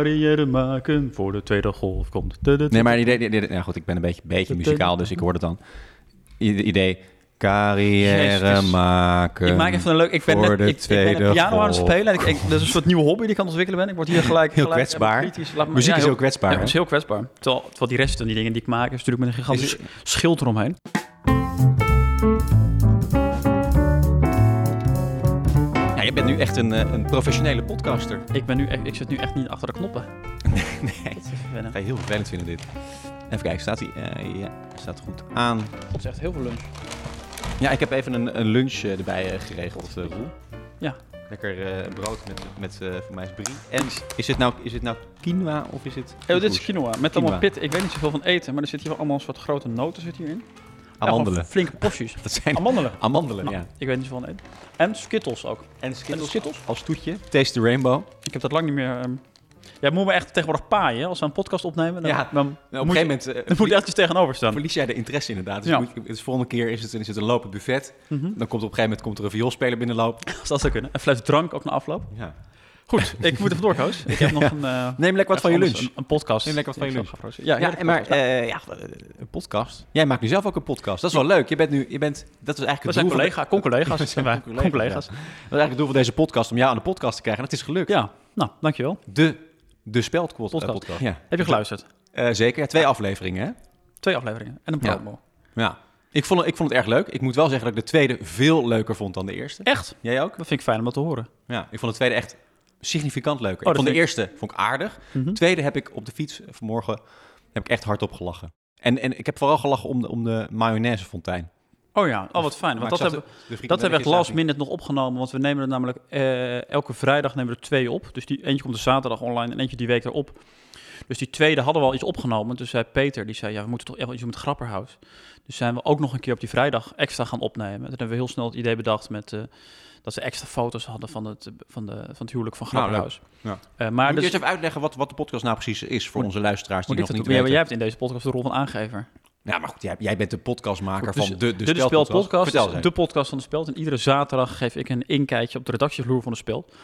Carrière maken voor de tweede golf komt. Tududu. Nee, maar het idee... idee- ja, goed, ik ben een beetje, beetje muzikaal, dus ik hoor het dan. I- idee, carrière Jezus. maken. Ik maak even een leuk... Ik ben voor net, de ik, ik ben net tweede piano aan het golf. spelen. En ik, ik- dat is een soort nieuwe hobby die ik aan het ontwikkelen ben. Ik word hier gelijk... Heel gelijk kwetsbaar. even kritisch. Laat me- Muziek ja, is heel kwetsbaar, Ja, hè? het is heel kwetsbaar. Terwijl, terwijl die rest en die dingen die ik maak... is natuurlijk met een gigantisch Is- schild eromheen. Ja, je bent nu echt een, eh, een professionele podcaster. Ik, ben nu echt, ik zit nu echt niet achter de knoppen. nee, Dat is even wennen. ga je heel vervelend vinden dit. Even kijken, staat hij? eh, ja, staat goed aan. Dat is echt heel veel lunch. Ja, ik heb even een, een lunch eh, erbij eh, geregeld, eh, Roel. Ja. Lekker eh, brood met, met eh, voor mij is brie. En is het nou, is het nou quinoa of is het... Oh, dit is quinoa. Met allemaal Quinoa. pit. Ik weet niet zoveel van eten. Maar er zit hier wel allemaal een soort grote noten zit hierin. Ja, gewoon Amandelen. flinke postjes. Dat zijn Amandelen. amandelen, Nou, ja. Ik weet niet zoveel van eten. En skittles ook. En En skittles? als toetje. Taste the rainbow. Nou, Ik heb dat lang niet meer... ehm, Jij moet me echt tegenwoordig paaien. hè? Als we een podcast opnemen, dan, Ja, dan, op een moet, je- gegeven moment eh, dan moet je echt eens tegenover staan. verlies jij de interesse inderdaad. Dus, Ja. moet je- dus volgende keer is het, is het een lopend buffet. Mhm. Dan komt op een gegeven moment komt er een vioolspeler binnenlopen. Als dat zou kunnen. Een fles drank ook na afloop. Ja. Goed, ik moet even door, Koos. Ik heb nog een... eh, Neem lekker wat even van je anders, lunch. Een, een podcast. Neem lekker wat van je Ik lunch. zal gaan Ja, Ja, ja en maar eh, ja, een podcast. Jij maakt nu zelf ook een podcast. Dat is wel leuk. Je bent nu, je bent, dat is eigenlijk we het zijn doel van- collega, con-collega's. zijn wij. con-collega's, Con-collega's. Dat is eigenlijk het doel van deze podcast, om jou aan de podcast te krijgen. En dat is gelukt. Ja, nou, dankjewel. De, de Speldquad podcast. Podcast. podcast. Ja. Heb je geluisterd? Eh, zeker. Ja, twee afleveringen, hè? Twee afleveringen en een Ja. promo. Ja. Ik vond, het- ik vond het erg leuk. Ik moet wel zeggen dat ik de tweede veel leuker vond dan de eerste. Echt? Jij ook? Dat vind ik fijn om dat te horen. Ja, ik vond de tweede echt significant leuker. Oh, dat ik vond de vind eerste vond ik aardig. Mhm. De tweede heb ik op de fiets eh, vanmorgen heb ik echt hardop gelachen. En, en ik heb vooral gelachen om de, om de mayonaise-fontein. Dus Oh ja, oh wat fijn. Maar Want dat ik zag hebben, de- de dat hebben we echt gisteren last minute nog opgenomen. Want we nemen er namelijk eh, elke vrijdag nemen we er twee op. Dus die eentje komt er zaterdag online en eentje die week erop. Dus die tweede hadden we al iets opgenomen. Dus zei Peter, die zei, ja, we moeten toch echt wel iets doen met Grapperhaus. Dus zijn we ook nog een keer op die vrijdag extra gaan opnemen. Toen hebben we heel snel het idee bedacht met, eh, dat ze extra foto's hadden van het, eh, van de, van het huwelijk van Nou, leuk. Grapperhaus. Ja. Eh, maar Moet dus, je eerst even uitleggen wat, wat de podcast nou precies is voor Moet- onze luisteraars die moet ik dat nog niet doen? Ja, maar weten. jij hebt in deze podcast de rol van aangever. Ja, maar goed, jij, jij bent de podcastmaker Goed, dus van de, de, Dit is Speld Podcast, Vertel is eens. de podcast van de Speld. En iedere zaterdag geef ik een inkijkje op de redactievloer van de Speld.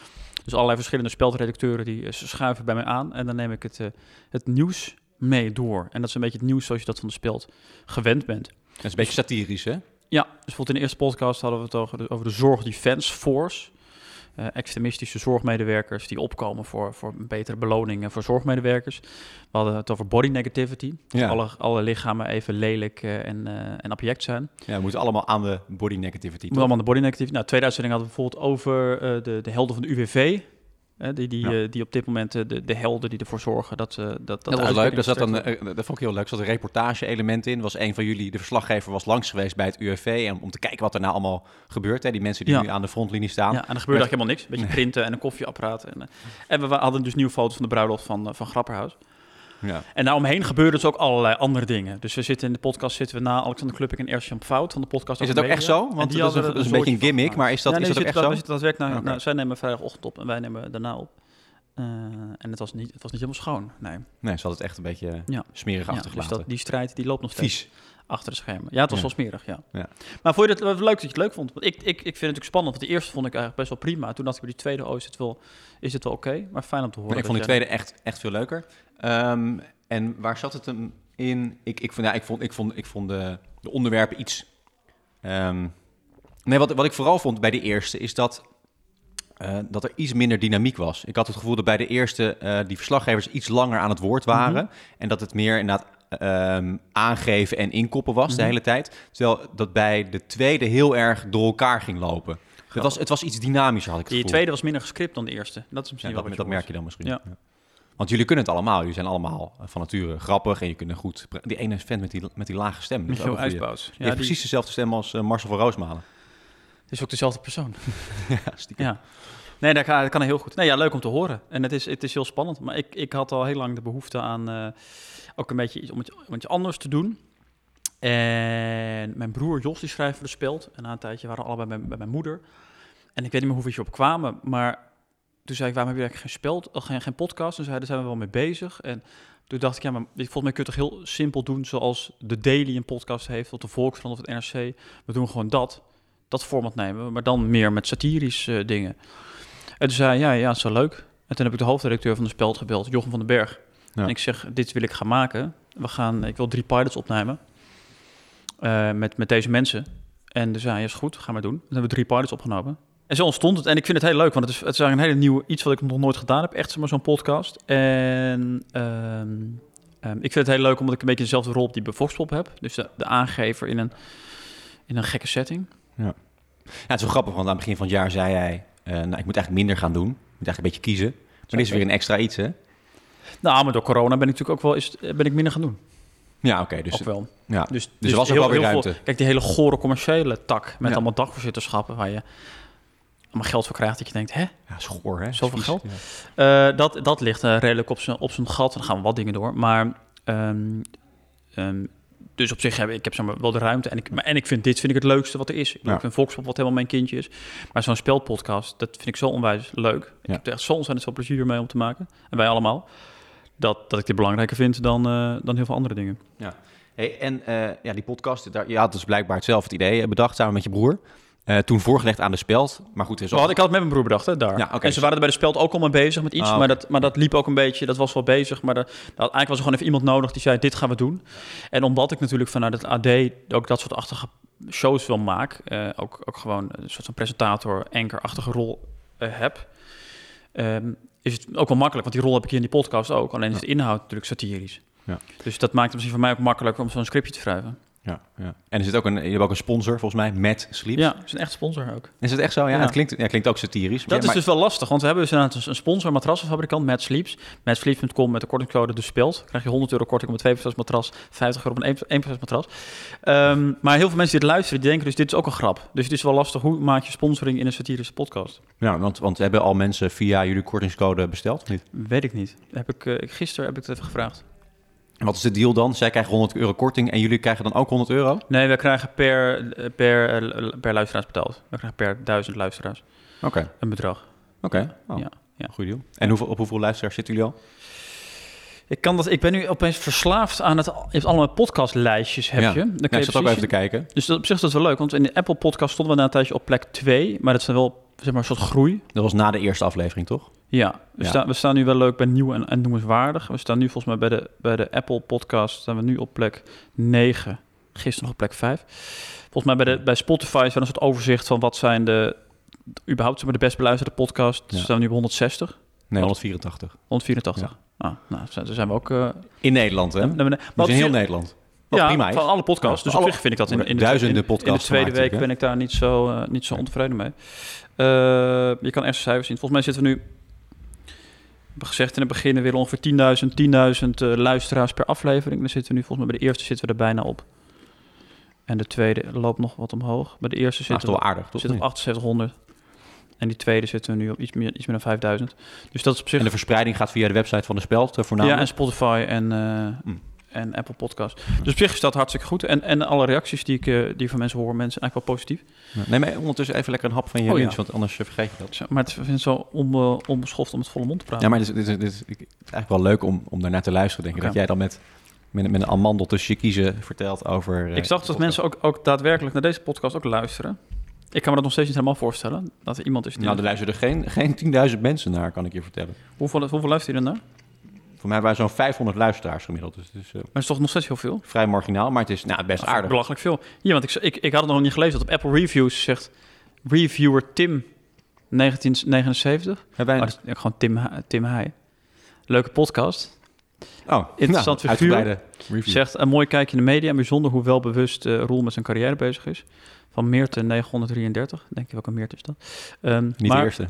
Dus allerlei verschillende Speldredacteuren die eh, schuiven bij mij aan. En dan neem ik het, eh, het nieuws mee door. En dat is een beetje het nieuws zoals je dat van de Speld gewend bent. Dat is een beetje satirisch, hè? Ja, dus bijvoorbeeld in de eerste podcast hadden we het over de, over de zorg defense force. Eh, extremistische zorgmedewerkers die opkomen voor, voor betere beloningen voor zorgmedewerkers. We hadden het over body negativity. Dus Ja. alle, alle lichamen even lelijk eh, en, eh, en abject zijn. Ja, we moeten allemaal aan de body negativity. Moet allemaal aan de body negativity. Nou, tweede uitzending hadden we bijvoorbeeld over eh, de, de helden van de UWV. hè, die, die, Ja. eh, die op dit moment eh, de, de helden die ervoor zorgen dat... eh, dat, dat, de Dat, was leuk. uitkering Daar zat dan, versterkt wordt. eh, dat vond ik heel leuk. Er zat een reportage-element in. Was een van jullie, de verslaggever, was langs geweest bij het UFV. En om te kijken wat er nou allemaal gebeurt. Hè? Die mensen die Ja. nu eh, aan de frontlinie staan. ja, en er gebeurde eigenlijk helemaal niks. Een beetje printen en een koffieapparaat. En, eh, en we wa- hadden dus nieuwe foto's van de bruiloft van, eh, van Grapperhaus. Ja. En daaromheen gebeuren dus ook allerlei andere dingen. Dus we zitten in de podcast zitten we na Alexander Kluppik en Erst-Jan Fout van de podcast. Is het over ook echt media. zo? En Want die dat is hadden een, er dat is een soortje beetje een van gimmick. gemaakt. Maar is dat, Ja, nee, is dat we ook echt zitten zo? wel- We zitten daadwerkelijk naar, Oké. nou, zij nemen vrijdagochtend op en wij nemen daarna op. Eh, en het was, niet, het was niet helemaal schoon. Nee. Nee, ze had het echt een beetje eh, Ja. smerig Ja, dus achtergelaten. dat, die strijd die loopt nog steeds Vies. achter de schermen. Ja, het was Ja. wel smerig, ja. Ja. Maar vond je dat, leuk dat je het leuk vond? Want ik, ik, ik vind het natuurlijk spannend, want de eerste vond ik eigenlijk best wel prima. Toen dacht ik bij die tweede, oh, is het wel, is het wel oké? Maar fijn om te horen. Nee, ik vond die dat tweede echt, echt veel leuker. Ehm, en waar zat het hem in? Ik, ik, vond, ja, ik vond, ik vond, ik vond de, de onderwerpen iets. ehm, nee, wat, wat ik vooral vond bij de eerste is dat, eh, dat er iets minder dynamiek was. Ik had het gevoel dat bij de eerste eh, die verslaggevers iets langer aan het woord Mhm. waren. En dat het meer inderdaad ehm, aangeven en inkoppen was de Mhm. hele tijd. Terwijl dat bij de tweede heel erg door elkaar ging lopen. Het was, het was iets dynamischer, had ik het Die gevoel. tweede was minder gescript dan de eerste. Dat is Ja, misschien dat, wel dat wat merk je dan misschien. Ja. Ja. Want jullie kunnen het allemaal. Jullie zijn allemaal eh, van nature grappig en je kunt goed... pra- Die ene vent met die, met die lage stem. dat is ook Michiel een goeie. Uitbouws. Ja, Die heeft die precies dezelfde stem als eh, Marcel van Roosmalen. is ook dezelfde persoon. ja, stiekem. Ja. Nee, dat kan, dat kan heel goed. Nee, ja, leuk om te horen. En het is, het is heel spannend. Maar ik, ik had al heel lang de behoefte aan eh, ook een beetje iets, om, iets, om iets anders te doen. En mijn broer Jos, die schrijft voor de Speld. En na een tijdje waren we allebei bij, bij mijn moeder. En ik weet niet meer hoeveel je op kwamen. Maar toen zei ik, waarom heb je eigenlijk geen, speld, eh, geen, geen podcast? En zei, daar zijn we wel mee bezig. En toen dacht ik, ja, maar volgens mij kun je het toch heel simpel doen... zoals de Daily een podcast heeft, of de Volkskrant of het NRC. We doen gewoon dat. Dat format nemen we, maar dan meer met satirische eh, dingen. En toen zei hij, ja, ja, dat is wel leuk. En En toen heb ik de hoofdredacteur van de Speld gebeld, Jochem van den Berg. Ja. En ik zeg, dit wil ik gaan maken. We gaan, ik wil drie pilots opnemen eh, met, met deze mensen. En dus zei hij, is goed, ga maar doen. Toen hebben we drie pilots opgenomen. En zo ontstond het. En ik vind het heel leuk, want het is, het is eigenlijk een hele nieuwe, iets wat ik nog nooit gedaan heb. Echt zeg maar, zo'n podcast. En ehm, ehm, ik vind het heel leuk, omdat ik een beetje dezelfde rol op die bij Voxpop heb. Dus de, de aangever in een, in een gekke setting. Ja, het is wel grappig, want aan het begin van het jaar zei hij... eh, nou, ik moet eigenlijk minder gaan doen. Ik moet eigenlijk een beetje kiezen. Maar dit is weer een extra iets, hè? Nou, maar door corona ben ik natuurlijk ook wel is, het- ben ik minder gaan doen. Ja, oké. dus, Dus, ook wel. ja. Dus, er was ook wel weer ruimte. veel- kijk, die hele gore commerciële tak met Ja. allemaal dagvoorzitterschappen waar je allemaal geld voor krijgt dat je denkt, hè? ja schoor, hè? Zoveel Vies. geld? Ja. Eh, dat, dat ligt eh, redelijk op zijn op zijn gat. Dan gaan we wat dingen door. Maar, ehm, ehm, dus op zich heb ik- ik heb zeg maar, wel de ruimte. En ik, maar, en ik vind dit vind ik het leukste wat er is. Ik, bedoel, Ja. ik vind Volkspop wat helemaal mijn kindje is. Maar zo'n spelpodcast, dat vind ik zo onwijs leuk. Ik Ja. heb er echt zo ontzettend veel plezier mee om te maken. En wij allemaal. Dat, dat ik dit belangrijker vind dan, eh, dan heel veel andere dingen. Hey, en eh, ja, die podcast, daar, je had dus blijkbaar zelf het idee eh, bedacht samen met je broer. Eh, toen voorgelegd aan de speld. Maar goed, er is Zo Oh, had ik had het met mijn broer bedacht, hè, daar. Ja, oké. En ze waren er bij de speld ook al mee bezig met iets, Ah, oké. maar, dat, maar dat liep ook een beetje, dat was wel bezig. Maar dat, dat- eigenlijk was er gewoon even iemand nodig die zei, dit gaan we doen. En omdat ik natuurlijk vanuit het AD ook dat soort achtige shows wil maak, eh, ook, ook gewoon een soort van presentator, ankerachtige rol eh, heb, ehm, is het ook wel makkelijk, want die rol heb ik hier in die podcast ook. Alleen is de inhoud natuurlijk satirisch. Ja. Dus dat maakt het misschien voor mij ook makkelijker om zo'n scriptje te schrijven. Ja, ja. En er zit ook een, jullie hebben ook een sponsor, volgens mij, Matt Sleeps. Ja, is een echt sponsor ook. Is het echt zo? Ja, Ja. Het klinkt, ja, het klinkt ook satirisch. Dat Ja, maar- is dus wel lastig, want we hebben dus inderdaad een- een sponsor, matrassenfabrikant, Mad Sleeps. Madsleeps.com met de kortingscode de speelt. Krijg je 100 euro korting op een 2% matras, 50 euro op een 1% matras. Ehm, maar heel veel mensen die het luisteren, die denken dus dit is ook een grap. Dus het is wel lastig, hoe maak je sponsoring in een satirische podcast? ja, want, want hebben al mensen via jullie kortingscode besteld of niet? Weet ik niet. Heb ik, eh, gisteren heb ik het even gevraagd. En wat is de deal dan? Zij krijgen 100 euro korting en jullie krijgen dan ook 100 euro? Oké. Nee, we krijgen per, per, eh, per luisteraars betaald. We krijgen per duizend luisteraars een bedrag. Oké. Oh, Ja, ja. Goed deal. En hoeveel, op hoeveel luisteraars zitten jullie al? Ik, kan dat, ik ben nu opeens verslaafd aan het... Je hebt allemaal podcastlijstjes, heb ja. je. Dan kun je Ja, ik zat ook precies even te kijken. Dus dat, op zich is dat wel leuk, want in de Apple podcast stonden we na een tijdje op plek 2, maar dat is dan wel zeg maar, een soort groei. Dat was na de eerste aflevering, toch? Ja, we, Ja. Staan, we staan nu wel leuk bij nieuw en, en noemenswaardig. We staan nu volgens mij bij de, bij de Apple podcast, staan we nu op plek 9, gisteren nog op plek 5. Volgens mij bij, de, bij Spotify is wel een soort overzicht van wat zijn de, überhaupt zeg maar, de best beluisterde podcasts. Ja. We staan we nu op 160, Nee, 184. 184. Ah, nou, daar zijn we ook... eh, In Nederland, hè? naar beneden. Dat Maar is in heel op zich- Nederland. Wat ja, prima is. van alle podcasts. Ja, dus van op alle- zich vind ik dat in, in, de- Duizenden in- in podcasts de tweede gemaakt, week hè? ben ik daar niet zo, eh, niet zo ontevreden mee. Eh, je kan echt cijfers zien. Volgens mij zitten we nu... Ik heb gezegd in het begin, we willen ongeveer 10.000, 10.000 eh, luisteraars per aflevering. Dan zitten we nu, volgens mij bij de eerste zitten we er bijna op. En de tweede loopt nog wat omhoog. Bij de eerste Dat is zitten toch we wel aardig, toch? zitten we op 7800. En die tweede zitten we nu op iets meer, iets meer dan 5000. Dus dat is op zich En de verspreiding gaat via de website van de Speld eh, ja, voornamelijk. en Spotify en, eh, Mm. en Apple Podcast. Dus op zich is dat hartstikke goed. En, en alle reacties die ik eh, die van mensen hoor, mensen eigenlijk wel positief. Ja. Neem maar ondertussen even lekker een hap van je Oh, ja. lunch, want anders eh, vergeet je dat. Zo, Maar het vind het zo on, eh, onbeschoft om het volle mond te praten. Ja, maar dit is, dit is, dit is- ik- het is eigenlijk wel leuk om, om daarnaar te luisteren, denk ik. Oké. Dat jij dan met, met, met een amandel tussen je kiezen vertelt over... eh, ik zag dat podcast. mensen ook, ook daadwerkelijk naar deze podcast ook luisteren. Ik kan me dat nog steeds niet helemaal voorstellen. Dat er iemand is die... Nou, er luisteren geen, geen 10.000 mensen naar, kan ik je vertellen. hoeveel, hoeveel luistert je er naar? Maar Voor mij waren zo'n 500 luisteraars gemiddeld. Dus het is eh, het is toch nog steeds heel veel? vrij marginaal, maar het is nou, best Dat vind ik aardig. Belachelijk veel. Ja, want ik, ik, ik had het nog niet gelezen dat op Apple Reviews zegt... Reviewer Tim 1979. Hebben Oh, wij dat is gewoon Tim, Ha- Tim Heij. Leuke podcast. een- oh, interessant nou, figuur. uitgebreide review. Zegt een mooi kijkje in de media en bijzonder hoe welbewust eh Roel met zijn carrière bezig is. Van Meerten 933, denk je welke Meerten is dat? Ehm, Niet maar, de eerste.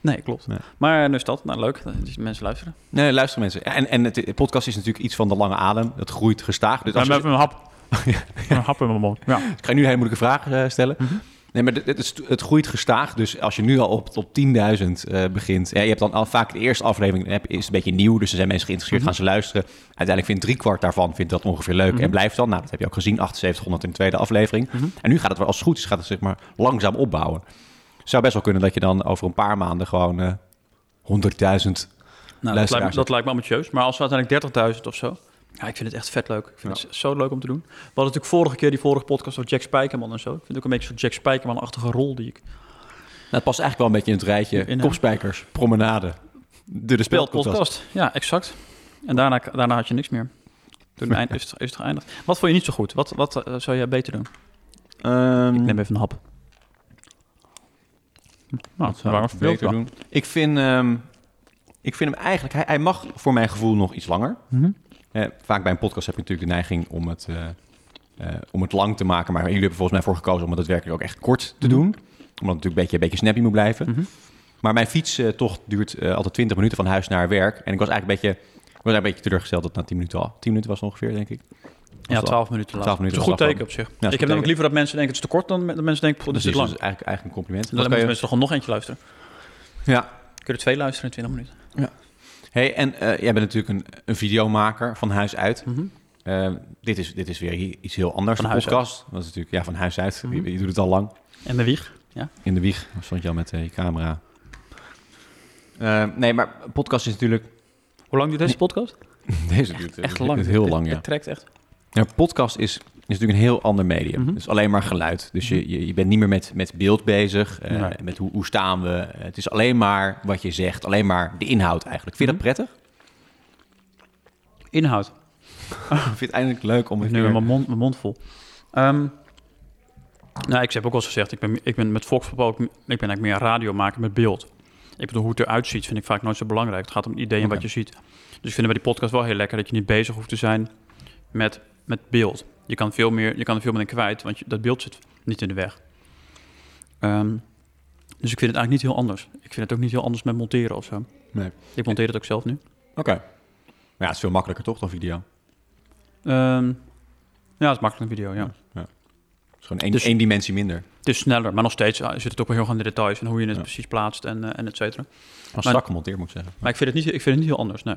Nee, klopt. Nee. Maar nu is dat, nou leuk, dus mensen luisteren. Nee, luister mensen. Ja, En, en het, de podcast is natuurlijk iets van de lange adem. Het groeit gestaag. Dus als je- een hap. Een hap in mijn mond. Ja. ik ga je nu een hele moeilijke vraag eh, stellen. Mhm. Nee, maar dit- dit is- het groeit gestaag. Dus als je nu al op, op 10.000 eh, begint. Ja, je hebt dan al vaak de eerste aflevering dan heb- is een beetje nieuw. Dus er zijn mensen geïnteresseerd, Mhm. gaan ze luisteren. Uiteindelijk vindt driekwart daarvan vindt dat ongeveer leuk Mhm. en blijft dan. Nou, dat heb je ook gezien. 7800 in de tweede aflevering. Mhm. En nu gaat het wel als het goed is, gaat het zeg maar langzaam opbouwen. Het zou best wel kunnen dat je dan over een paar maanden gewoon eh 100.000 Nou, dat, Luisteraars. lijkt me, dat lijkt me ambitieus. Maar als we uiteindelijk 30.000 of zo. Ja, ik vind het echt vet leuk. Ik vind Ja. het zo leuk om te doen. We hadden natuurlijk vorige keer die vorige podcast over Jack Spijkerman en zo. Ik vind het ook een beetje zo'n Jack Spijkerman-achtige rol die ik... Nou, het past eigenlijk wel een beetje in het rijtje Inhoud. kopspijkers, promenade. De de speelpodcast. podcast. Ja, exact. En daarna, daarna had je niks meer. Toen eind, is, het, is het geëindigd. Wat vond je niet zo goed? Wat, wat eh, zou jij beter doen? Ehm, Ik neem even een hap. Nou, wat het zou waren ik beter doen? Ik vind, ehm, ik vind hem eigenlijk... Hij, hij mag voor mijn gevoel nog iets langer. Eh, vaak bij een podcast heb je natuurlijk de neiging om het, eh, eh, om het lang te maken. Maar jullie hebben volgens mij voor gekozen om het daadwerkelijk ook echt kort te Mhm. doen. Omdat het natuurlijk een beetje, een beetje snappy moet blijven. Mhm. Maar mijn fietstocht duurt eh, altijd 20 minuten van huis naar werk. En ik was eigenlijk een beetje, ik was eigenlijk een beetje teleurgesteld dat na 10 minuten al. 10 minuten was het ongeveer, denk ik. Ja, wel- 12 minuten later. Dat 12 minuten is een goed later. teken op zich. is ik goed heb namelijk teken. liever dat mensen denken het is te kort dan dat mensen denken, "Poh, dit is Dus te dat lang. is eigenlijk, eigenlijk een compliment. Dan Dat kan moeten je- mensen toch gewoon nog eentje luisteren. ja, Kunnen er twee luisteren in 20 minuten. Hey, en eh, jij bent natuurlijk een, een videomaker van huis uit. Mhm. Eh, dit, is, dit is weer i- iets heel anders. Van Van huis podcast. Dat is natuurlijk ja, van huis uit. Je- Mhm. je, doet het al lang. En de wieg. In de wieg stond je al met eh, je camera. Eh, nee, maar podcast is natuurlijk. Hoe lang duurt deze podcast? Deze duurt Echt duurt lang. heel Dit- lang, ja. Dit trekt echt. Ja, podcast is, is natuurlijk een heel ander medium. Mhm. Het is alleen maar geluid. Dus je, je, je bent niet meer met, met beeld bezig. eh, Nee. Met hoe, hoe staan we. Eh, Het is alleen maar wat je zegt. Alleen maar de inhoud eigenlijk. Vind je Mhm. dat prettig? Inhoud. Vind je het eindelijk leuk om Ik heb het nu weer- mijn mond, mijn mond vol. Ehm, nou, ik heb ook wel eens gezegd, ik ben, ik ben met Volkswagen ook, ik ben eigenlijk meer een radiomaker met beeld. Ik bedoel, hoe het eruit ziet vind ik vaak nooit zo belangrijk. Het gaat om het idee en wat Oké. je ziet. Dus ik vind het bij die podcast wel heel lekker dat je niet bezig hoeft te zijn met, met beeld. Je kan, veel meer, je kan er veel meer in kwijt, want je, dat beeld zit niet in de weg. Ehm, dus ik vind het eigenlijk niet heel anders. Ik vind het ook niet heel anders met monteren of zo. Nee. Ik monteer het ook zelf nu. Oké. Maar ja, het is veel makkelijker toch dan video? Het Ehm, ja, het is makkelijk een video, ja. is gewoon één, Dus- één dimensie minder. Het is sneller, maar nog steeds ah, zit het ook wel heel erg aan de details en hoe je het Ja. precies plaatst en, eh, en et cetera. Als Maar- strak gemonteerd moet ik zeggen. Maar ik vind, het niet, ik vind het niet heel anders, nee.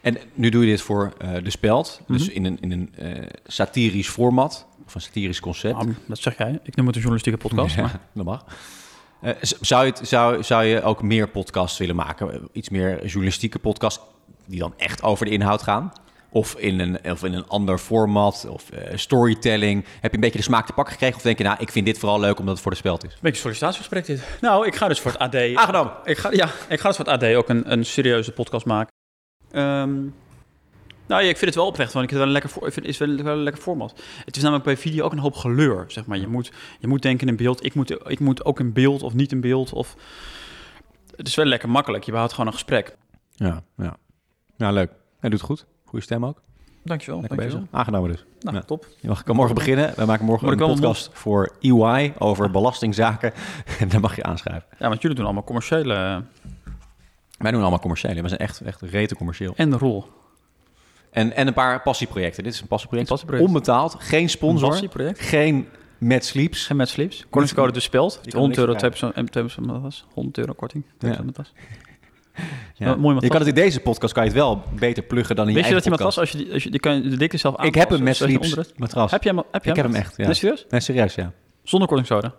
En nu doe je dit voor eh, De Speld. Dus Mhm. in een, in een eh, satirisch format. Of een satirisch concept. Ah, dat zeg jij. Ik noem het een journalistieke podcast. Ja, Maar dat mag. Eh, z- zou, je het, zou, zou je ook meer podcasts willen maken? Eh, Iets meer journalistieke podcasts die dan echt over de inhoud gaan? Of in een, of in een ander format? Of eh, storytelling? Heb je een beetje de smaak te pakken gekregen? Of denk je, nou, ik vind dit vooral leuk omdat het voor De Speld is? een beetje sollicitatiegesprek dit. Nou, ik ga dus voor het AD. Aangenomen. Ik ga, ja, ik ga dus voor het AD ook een, een serieuze podcast maken. Ehm, nou ja, ik vind het wel oprecht, want ik vind het wel een lekker, voor- ik vind, het is wel, wel een lekker format. Het is namelijk bij video ook een hoop geleur, zeg maar. Je moet, je moet denken in beeld. Ik moet, ik moet ook in beeld of niet in beeld. Of... Het is wel lekker makkelijk. Je behoudt gewoon een gesprek. Ja, ja. Nou, leuk. Hij doet het goed. Goede stem ook. Dankjewel. Lekker bezig. Aangenomen dus. Nou, Ja. top. Je mag, kan morgen beginnen. We maken morgen Word ik een wel podcast voor EY over belastingzaken. En daar mag je aanschrijven. Ja, want jullie doen allemaal commerciële eh, Wij doen allemaal commerciële. We zijn echt, echt rete commercieel. en de rol. En, en een paar passieprojecten. Dit is een passieproject. Een passieproject. Onbetaald. Geen sponsor. project. Geen Mad Sleeps. Geen met slips. Kortingscode dus speld. niks 100 euro, eh, verkrijgen. 2% en 2% met was. 100 euro korting. 2% Ja. met was. Ja. Nou, mooi, maar je kan vast- het in deze podcast kan je het wel beter pluggen dan in Wist je je dat eigen iemand was? podcast. Als je, die, als je die kan je de dikte zelf aan. Ik heb een Mad Sleeps matras. Heb jij hem? Heb jij Ik heb hem echt, ja. Dus- Nee, serieus? Nee, serieus, ja. Zonder kortingscode.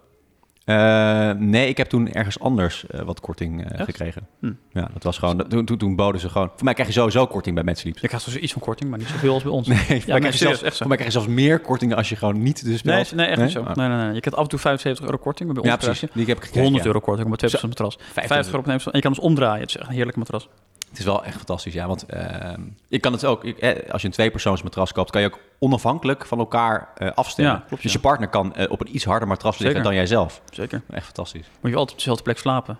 Eh, nee, ik heb toen ergens anders eh, wat korting eh, Echt? gekregen. Hm. Ja, dat was gewoon... dat- Toen, toen, toen boden ze gewoon... Voor mij krijg je sowieso korting bij Mad Sleeps. Ik krijg dus iets van korting, maar niet zoveel als bij ons. Nee, voor mij nee, krijg je serieus, zelfs, echt zo. voor mij krijg je zelfs meer kortingen als je gewoon niet de spel... Nee, nee, echt niet zo. Ah. Nee, nee, nee. Je krijgt af en toe 75 euro korting, maar bij Ja, ons precies. krijg je Die heb ik gekregen, 100 ja. euro korting op het 2% matras. 25 50 euro opneemt en je kan ons omdraaien. Het is echt een heerlijk matras. Het is wel echt fantastisch, ja. Want ehm, je kan het ook... ik- eh, als je een tweepersoonsmatras koopt, kan je ook onafhankelijk van elkaar eh, afstemmen. Ja, klopt, dus ja. je partner kan eh, op een iets harder matras liggen Zeker. dan jijzelf. Zeker. Echt fantastisch. Moet je altijd op dezelfde plek slapen.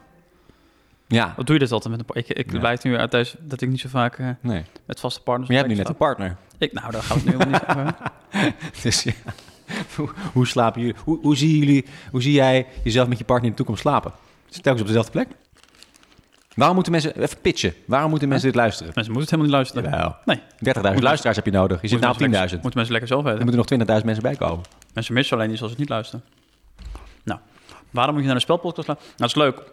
Ja, Wat doe je dit altijd met een pa- Ik, ik Ja. blijkt nu uit deze dat ik niet zo vaak eh, nee. Maar met vaste partners. jij op hebt nu plek net een partner. slaap. Ik, nou, daar gaan we het nu helemaal niet over. Dus ja. hoe, hoe slapen jullie... Hoe, hoe, zien jullie, hoe zie jij jezelf met je partner in de toekomst slapen? Is het telkens op dezelfde plek? Waarom moeten mensen... Even pitchen. Waarom moeten mensen dit luisteren? Mensen moeten het helemaal niet luisteren. Jawel. Nee. 30.000 luisteraars heb je nodig. Je zit nou op 10.000. Moeten mensen lekker- Moeten mensen lekker zelf Er weten. moeten nog 20.000 mensen bij komen. Mensen missen alleen iets als ze het niet luisteren. Nou, waarom moet je naar de spelpodcast luisteren? Nou, dat is leuk.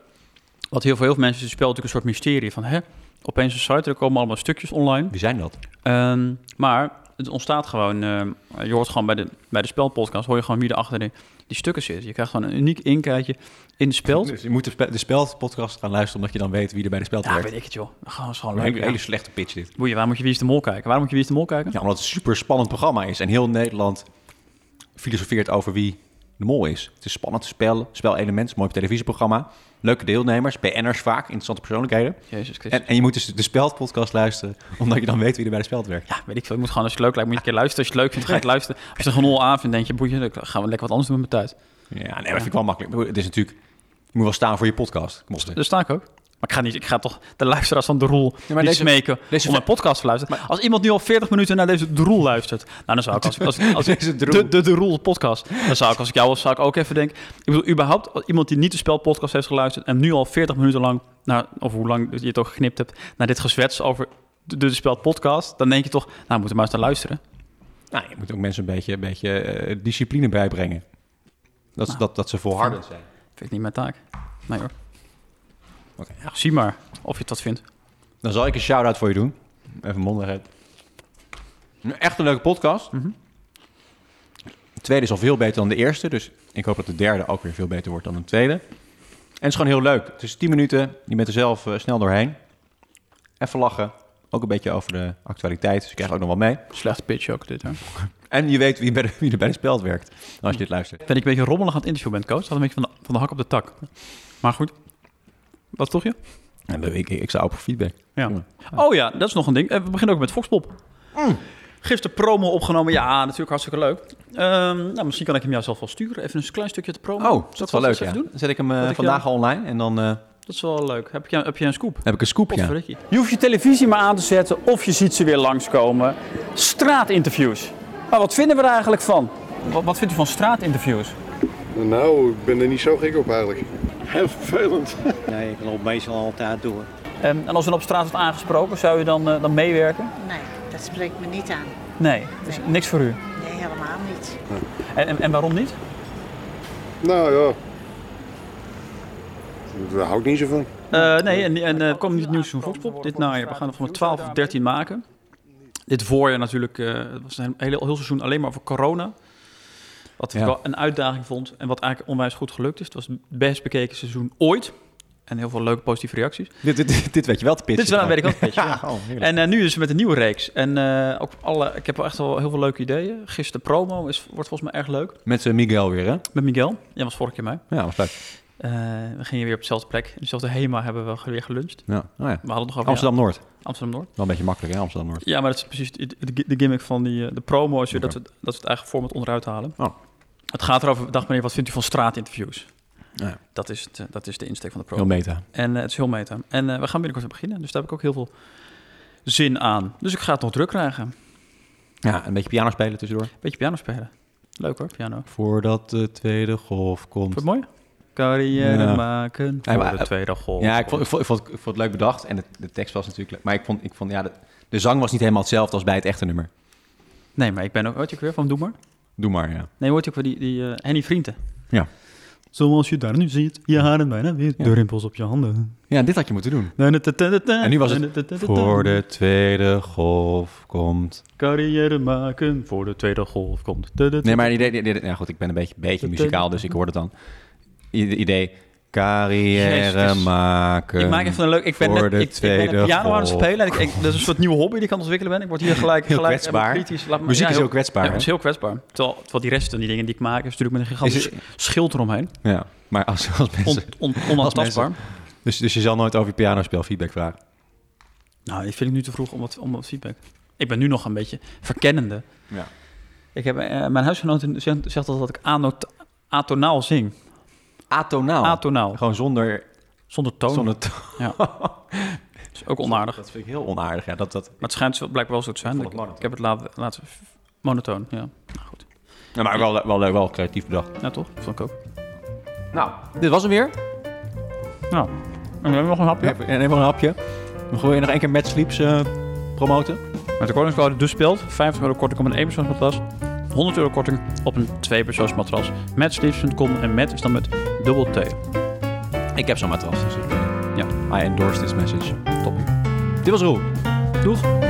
Wat heel veel, heel veel mensen is het spel natuurlijk een soort mysterie. Van, hè, opeens een site, er komen allemaal stukjes online. Wie zijn dat? Ehm, maar het ontstaat gewoon, ehm, je hoort gewoon bij de, bij de spelpodcast, hoor je gewoon wie er achter die, die stukken zit. Je krijgt gewoon een uniek inkijkje in de speld. Dus je moet de, spe- de Speld-podcast gaan luisteren... omdat je dan weet wie er bij de Speld Ja, werkt. weet ik het joh. Gewoon, is gewoon Een leuk. hele, Ja. hele slechte pitch dit. Boeien, waarom moet je Wie is de Mol kijken? Waarom moet je Wie is de Mol kijken? Ja, omdat het een super spannend programma is. En heel Nederland filosofeert over wie de mol is. Het is spannend spel, spelelement, mooi op televisieprogramma. Leuke deelnemers, BN'ers vaak, interessante persoonlijkheden. Jezus Christus. En, en je moet dus de Speldpodcast luisteren, omdat je dan weet wie er bij de Speld werkt. ja, weet ik veel. Je moet gewoon, als je het leuk lijkt, moet je een keer luisteren. Als je het leuk vindt, ga je het luisteren. Als je er gewoon nul aan vindt, denk je, boeien, dan gaan we lekker wat anders doen met mijn tijd. Ja, nee, maar dat vind ik wel makkelijk. Ik bedoel, Het is natuurlijk, je moet wel staan voor je podcast. Kom op, hè. Dus sta ik ook. Maar ik ga, niet, ik ga toch de luisteraars van De Roel maar niet deze- smeken deze- om mijn podcast te luisteren. als iemand nu al 40 minuten naar deze De Roel luistert, nou dan zou ik als, als, als, Deze De de, Roel. de, de Roel podcast, dan zou ik als ik jou was, zou ik ook even denken. Ik bedoel, überhaupt als iemand die niet de spelpodcast heeft geluisterd en nu al 40 minuten lang, naar, of hoe lang je het ook geknipt hebt, naar dit gezwets over de, de, spelpodcast, dan denk je toch, nou we moeten maar eens naar luisteren. Nou, je moet ook mensen een beetje, een beetje eh, discipline bijbrengen. Dat, ze- dat, dat ze volharden zijn. Vind ik niet mijn taak. Nee hoor. Oké. Ja, zie maar of je dat vindt. Dan zal ik een shout-out voor je doen. Even mondigheid. Echt een leuke podcast. De tweede is al veel beter dan de eerste. Dus ik hoop dat de derde ook weer veel beter wordt dan de tweede. En het is gewoon heel leuk. Het is 10 minuten. Je bent er zelf eh, snel doorheen. Even lachen. Ook een beetje over de actualiteit. Dus je krijgt ook nog wat mee. Slecht pitch ook dit hè. En je weet wie, bij de- wie er bij de speld werkt. Als je dit luistert. Ben ik een beetje rommelig aan het interview bent, coach. Dat had een beetje van de, van de hak op de tak. Maar goed. Wat toch je? En ik, ik sta open voor feedback. Ja. Ja. Mm. Oh ja, dat is nog een ding. Eh, We beginnen ook met Foxpop. Gisteren promo opgenomen. Ja, natuurlijk hartstikke leuk. Ehm, nou, misschien kan ik hem jou zelf wel sturen. Even een klein stukje te promo. Zal Oh, ik dat is wel leuk. eens Ja. even Dan doen? zet ik hem eh, Dat ik vandaag jou- al online. En dan eh, Dat is wel leuk. Heb, je, heb jij een scoop? heb ik een scoop. Ja. Potverdikkie. Je hoeft je televisie maar aan te zetten of je ziet ze weer langskomen. Straatinterviews. Maar wat vinden we er eigenlijk van? Wat, wat vindt u van straatinterviews? Nou, ik ben er niet zo gek op eigenlijk. Heel vervelend. Nee, ik loop meestal altijd door. Ehm, En, en als u dan op straat wordt aangesproken, zou u dan, eh, dan meewerken? Nee, dat spreekt me niet aan. Nee, dus niks voor u. Nee, helemaal niet. En, en, en waarom niet? Nou ja. Daar hou ik niet zo van. Eh, nee, en, en eh, er komt niet het nieuws van Foxpop dit najaar. We gaan er van de 12 of 13 maken. Dit voorjaar natuurlijk, eh, het was een hele, heel seizoen alleen maar over corona. Wat ik Ja. wel een uitdaging vond en wat eigenlijk onwijs goed gelukt is. Het was het best bekeken seizoen ooit. En heel veel leuke positieve reacties. Dit, dit, dit weet je wel te Dit pitchen. is wel een dan. werk pitch. ja. Ja, oh, heerlijk. En eh, nu is het met een nieuwe reeks. En eh, ook alle, ik heb wel echt al heel veel leuke ideeën. Gisteren promo is, wordt volgens mij erg leuk. Met eh, Miguel weer, hè? Met Miguel. Jij was vorige keer mee. Ja, was leuk. Eh, we gingen weer op dezelfde plek. In dezelfde HEMA hebben we weer geluncht. Ja. Oh, ja. We hadden het nog over ja, Amsterdam-Noord. Wel Amsterdam-Noord. een beetje makkelijk, hè? Amsterdam-Noord. Ja, maar dat is precies de, de- de gimmick van die, eh, de promo. Is weer Oké. dat, we, dat we het eigen format onderuit halen. Oh. Het gaat erover, dag meneer, wat vindt u van straatinterviews? Ja. Dat, is het, eh, dat is de insteek van de promo. Heel meta. En eh, het is heel meta. En eh, we gaan binnenkort weer beginnen. Dus daar heb ik ook heel veel zin aan. Dus ik ga het nog druk krijgen. Ja, een beetje piano spelen tussendoor. Beetje piano spelen. Leuk hoor, piano. Voordat de tweede golf komt. Vond je het mooi? Carrière Ja. maken Ja, maar, voor de eh, tweede golf. Ja, ik vond, ik, vond, ik, vond, ik vond het leuk bedacht. En de, de tekst was natuurlijk leuk. Maar ik vond, ik vond ja, de, de zang was niet helemaal hetzelfde als bij het echte nummer. Nee, maar ik ben ook... Hoort je ook weer van Doe maar? Doe maar, ja. Nee, hoort je ook weer die, die eh, Henny Vrienden? Ja. Zoals je daar nu ziet, je haren bijna weer. Ja. De rimpels op je handen. Ja, dit had je moeten doen. En nu was het Voor de de tweede golf komt. carrière maken, voor de tweede golf komt. Nee, maar het idee... dit- dit- ja, goed, ik ben een beetje, beetje muzikaal, dus ik hoor het dan. I- idee... Carrière Jezus. maken. Ik maak even een leuk. Ik ben, Ehm, voor net, de ik, ik ben net tweede piano aan het golf. spelen. En ik, ik- dat is een soort nieuwe hobby die ik aan het ontwikkelen ben. Ik word hier gelijk, Heel gelijk kwetsbaar. helemaal kritisch. Laat me- Muziek ja, is heel- heel kwetsbaar. Ja, hè? het is heel kwetsbaar. Terwijl, terwijl die rest van die dingen die ik maak, is natuurlijk met een Is gigantisch het- schild eromheen. Ja, maar als, als On, mensen... on, onaantastbaar. Dus, dus je zal nooit over je pianospel feedback vragen? Nou, dit vind ik nu te vroeg om wat, om wat feedback. Ik ben nu nog een beetje verkennende. Ja. Ik heb, eh, mijn huisgenoot zegt, zegt altijd dat ik anot, atonaal zing. Atonaal. Oh. Atonaal. Gewoon zonder, Zonder toon. Oh. zonder toon. Ja. Dat is ook onaardig. Dat vind ik heel onaardig. Ja, dat, dat... Maar het schijnt zo- blijkbaar wel zo te zijn. Ik Ik, vond het ik heb het laat, laatst monotoon. Ja, nou, goed. Ja, maar wel, wel, wel, wel creatief bedacht. Nou toch? Vond ik ook. Nou, dit was hem weer. Nou, en we hebben nog een hapje. Even, en even een hapje. Dan wil je nog één keer Mad Sleeps eh, promoten. Met de koningscode dus speelt. 50 euro korting op een 1-persoonsmatras. 100 euro korting op een 2-persoonsmatras. Matsleeps.com en Matt is dan met dubbel T. Ik heb zo'n matras, dus ik, eh, Ja. I endorse this message. Top. Dit was Roel. Doeg!